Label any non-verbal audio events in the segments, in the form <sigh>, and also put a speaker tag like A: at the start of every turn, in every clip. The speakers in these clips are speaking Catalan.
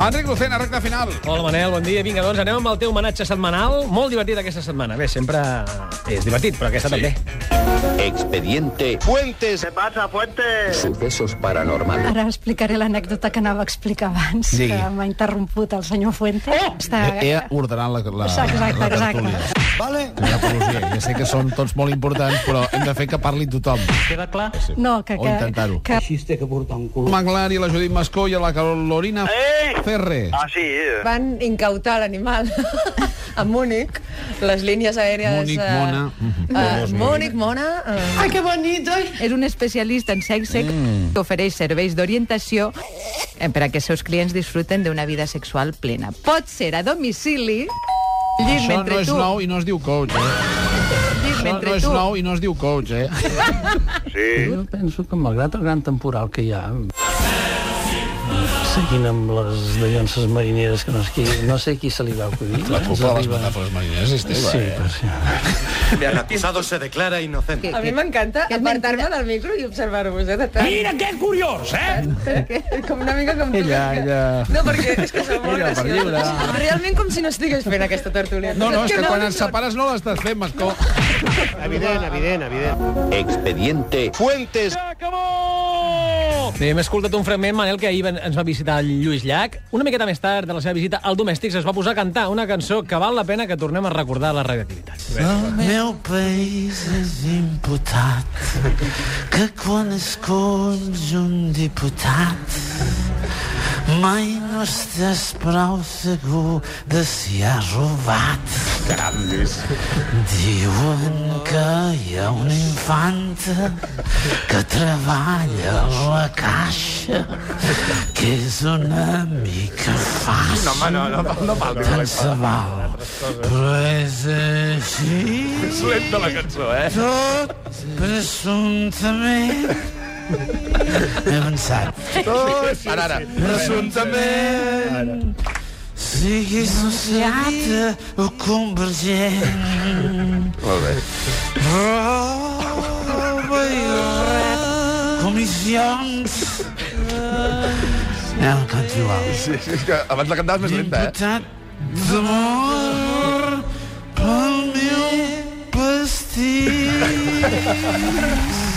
A: Enric Lucena, recta final.
B: Hola, Manel, bon dia. Vinga, doncs anem amb el teu homenatge setmanal. Molt divertit aquesta setmana. Bé, sempre és divertit, però aquesta sí. també.
C: Expediente Fuentes.
D: ¿Qué pasa, Fuentes?
C: Sucesos paranormales.
E: Ara explicaré l'anècdota que anava a explicar abans,
A: Digui. Eh,
E: que m'ha interromput el senyor Fuente. Oh! Està...
F: He, he ordenat Eh, la, la,
E: Exacte,
F: la
E: exacte.
F: tertúlia. Senyora Cruzier, ja sé que són tots molt importants, però hem de fer que parli tothom.
G: Queda clar?
E: No, que,
F: O
E: que,
F: intentar-ho.
E: que
A: Maglar i la Judit Mascó i la Carolina
D: Ei!
A: Ferre.
D: Ah, Eh. sí. eh.
H: Van incautar
I: <laughs>
H: l'animal a Múnich, les línies aèries...
A: Múnich,
I: eh,
A: Mona.
F: Mm-hmm.
H: Uh, Múnich, Mona... Uh,
I: Ah, que bonito! És un especialista en sexe mm. que ofereix serveis d'orientació eh, per a que els seus clients disfruten d'una vida sexual plena. Pot ser a domicili, llit
F: Això no
I: mentre
F: és
I: tu...
F: nou i no es diu coach, eh?
I: Llit
F: Això
I: mentre
F: no és
I: tu...
F: nou i no es diu coach, eh?
D: Sí.
G: Jo penso que malgrat el gran temporal que hi ha, seguint amb les dallances marineres que no, és qui, no sé qui se li va acudir.
F: La
G: ens
F: culpa de les
G: arriba-
F: metàfores marines és teva,
G: Sí,
F: eh?
G: per si...
C: Pisado se declara inocente.
H: a mi m'encanta apartar-me del micro i observar-vos, eh, de tant. Mira, que curiós, eh? Com una mica com... tu, eh,
A: Ella,
H: que-
A: ella.
H: No, perquè és que sou molt
A: Mira, per llibre.
H: graciosos. Realment com si no estigués fent aquesta tertúlia.
A: No, no, és que quan
H: ho
A: ens
H: són.
A: separes no l'estàs fent, Mascó.
G: Evident, evident, evident.
C: Expediente Fuentes.
B: Bé, hem escoltat un fragment, Manel, que ahir ven- ens va visitar el Lluís Llach. Una miqueta més tard de la seva visita al Domèstics es va posar a cantar una cançó que val la pena que tornem a recordar a la radioactivitat.
J: El meu país és imputat que quan escolls un diputat mai no estàs prou segur de si ha robat. Grandes. Diuen que hi ha una infanta que treballa a la caixa que és una mica fàcil. No, home, no, no, no val. Tant se val. Però és així. És lenta la cançó, eh? Tot presumptament He avançat.
C: Ara, ara.
J: Presumptament sigui associat o convergent.
C: Molt bé.
J: Roba i rep comissions. Anem a continuar.
C: Sí, és que abans la cantaves més lenta, eh?
J: Imputat d'amor pel meu pastís.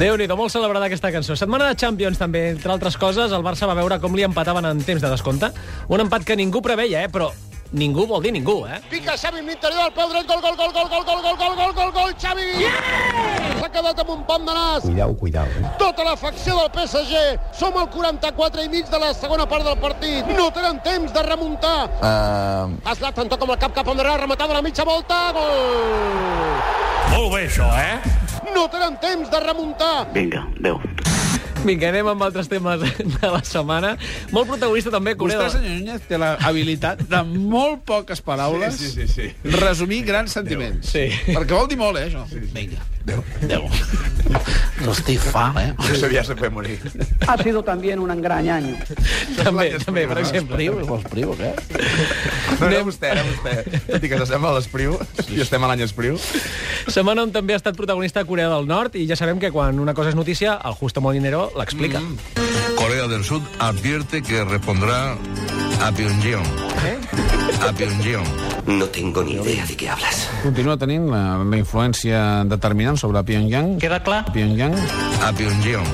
B: Déu-n'hi-do, molt celebrada aquesta cançó. Setmana de Champions, també. Entre altres coses, el Barça va veure com li empataven en temps de descompte. Un empat que ningú preveia, eh? Però ningú vol dir ningú, eh?
J: Pica Xavi amb l'interior, pel dret, gol, gol, gol, gol, gol, gol, gol, gol, gol, gol, gol, Xavi! S'ha quedat amb un pam de nas. Cuidao, cuidao. Tota la facció del PSG. Som al 44 i mig de la segona part del partit. No tenen temps de remuntar. Uh... Zlatan toca amb el cap cap endarrere, rematada a la mitja volta, gol!
G: Molt bé, això, eh?
J: No tenen temps de remuntar.
D: Vinga, adéu.
B: Vinga, anem amb altres temes de la setmana. Molt protagonista, també,
A: Vostè,
B: Coreda.
A: senyor Núñez, té l'habilitat de molt poques paraules sí, sí, sí, sí. resumir grans sentiments.
B: Sí.
A: <laughs> Perquè vol dir molt, eh, això. Vinga.
J: No estic fan, eh?
C: Jo sabia que se fer morir.
G: Ha sido también un gran año.
B: També, també, per exemple.
C: No, era vostè, era vostè. Tot i que s'assembla a l'espriu, i estem a l'any espriu.
B: Setmana on també ha estat protagonista a Corea del Nord i ja sabem que quan una cosa és notícia, el Justo Molinero l'explica. Mm.
C: Corea del Sur advierte que respondrà a Pyongyang. A Pyongyang.
D: No tengo ni idea de qué hablas.
F: Continua tenint la, la influència determinant sobre Pyongyang.
G: Queda clar?
F: Pyongyang.
C: A Pyongyang.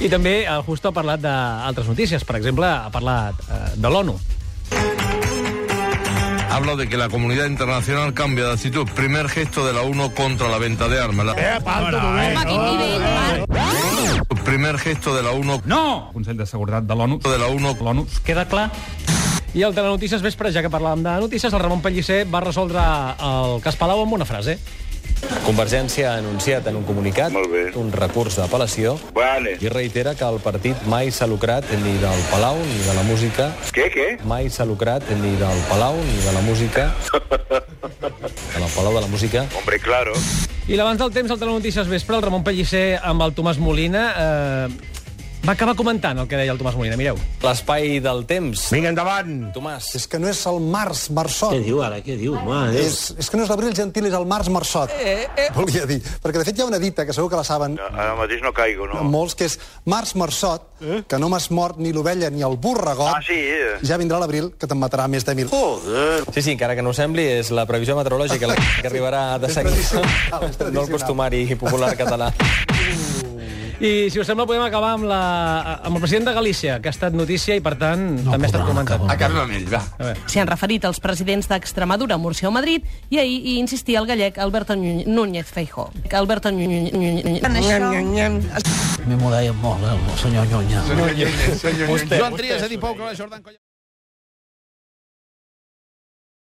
B: I també el Justo ha parlat d'altres notícies. Per exemple, ha parlat eh, de l'ONU.
C: Habla de que la comunidad internacional cambia de actitud. Primer gesto de la ONU contra la venta de armas. La- Primer gesto de la ONU
G: No!
K: Consell de Seguretat de l'ONU,
C: de la ONU
K: l'ONU
G: Queda clar?
B: I el de les notícies vespre, ja que parlàvem de notícies, el Ramon Pellicer va resoldre el cas Palau amb una frase.
K: Convergència ha anunciat en un comunicat
D: Molt bé.
K: un recurs d'apel·lació
D: Vale.
K: i reitera que el partit mai s'ha lucrat ni del Palau ni de la música
D: Què, què?
K: mai s'ha lucrat ni del Palau ni de la música
L: <laughs>
K: de la Palau de la música
D: Hombre, claro.
B: I l'abans del temps, el de les notícies vespre, el Ramon Pellicer amb el Tomàs Molina... Eh, Va acabar comentant el que deia el Tomàs Molina, mireu.
C: L'espai del temps.
M: Vinga, endavant.
C: Tomàs.
N: És que no és el març Marsot.
L: Què diu ara? Què diu? Mare de Déu.
N: És, és que no és l'abril gentil, és el març Marsot. Eh, eh. Volia dir. Perquè, de fet, hi ha una dita, que segur que la saben
D: Ara mateix no caigo, no?
N: molts, que és març Marsot, eh? que no m'has mort ni l'ovella ni el borregot.
D: Ah, sí, eh.
N: Ja vindrà l'abril, que te'n matarà més de mil.
D: Joder.
C: Sí, sí, encara que no ho sembli, és la previsió meteorològica la que arribarà de seguida. No el costumari popular català.
B: I, si us sembla, podem acabar amb, la, amb el president de Galícia, que ha estat notícia i, per tant, no també ha estat comentat.
O: Acabem amb ell, va.
I: S'hi han referit els presidents d'Extremadura, Múrcia o Madrid i ahir hi insistia el gallec Alberto Ñu- Núñez Feijó. Alberto Núñez...
L: Me molava molt, eh, el senyor Nyonya.
A: Joan Trias, Edi Pou, Clara Jordan... Colla-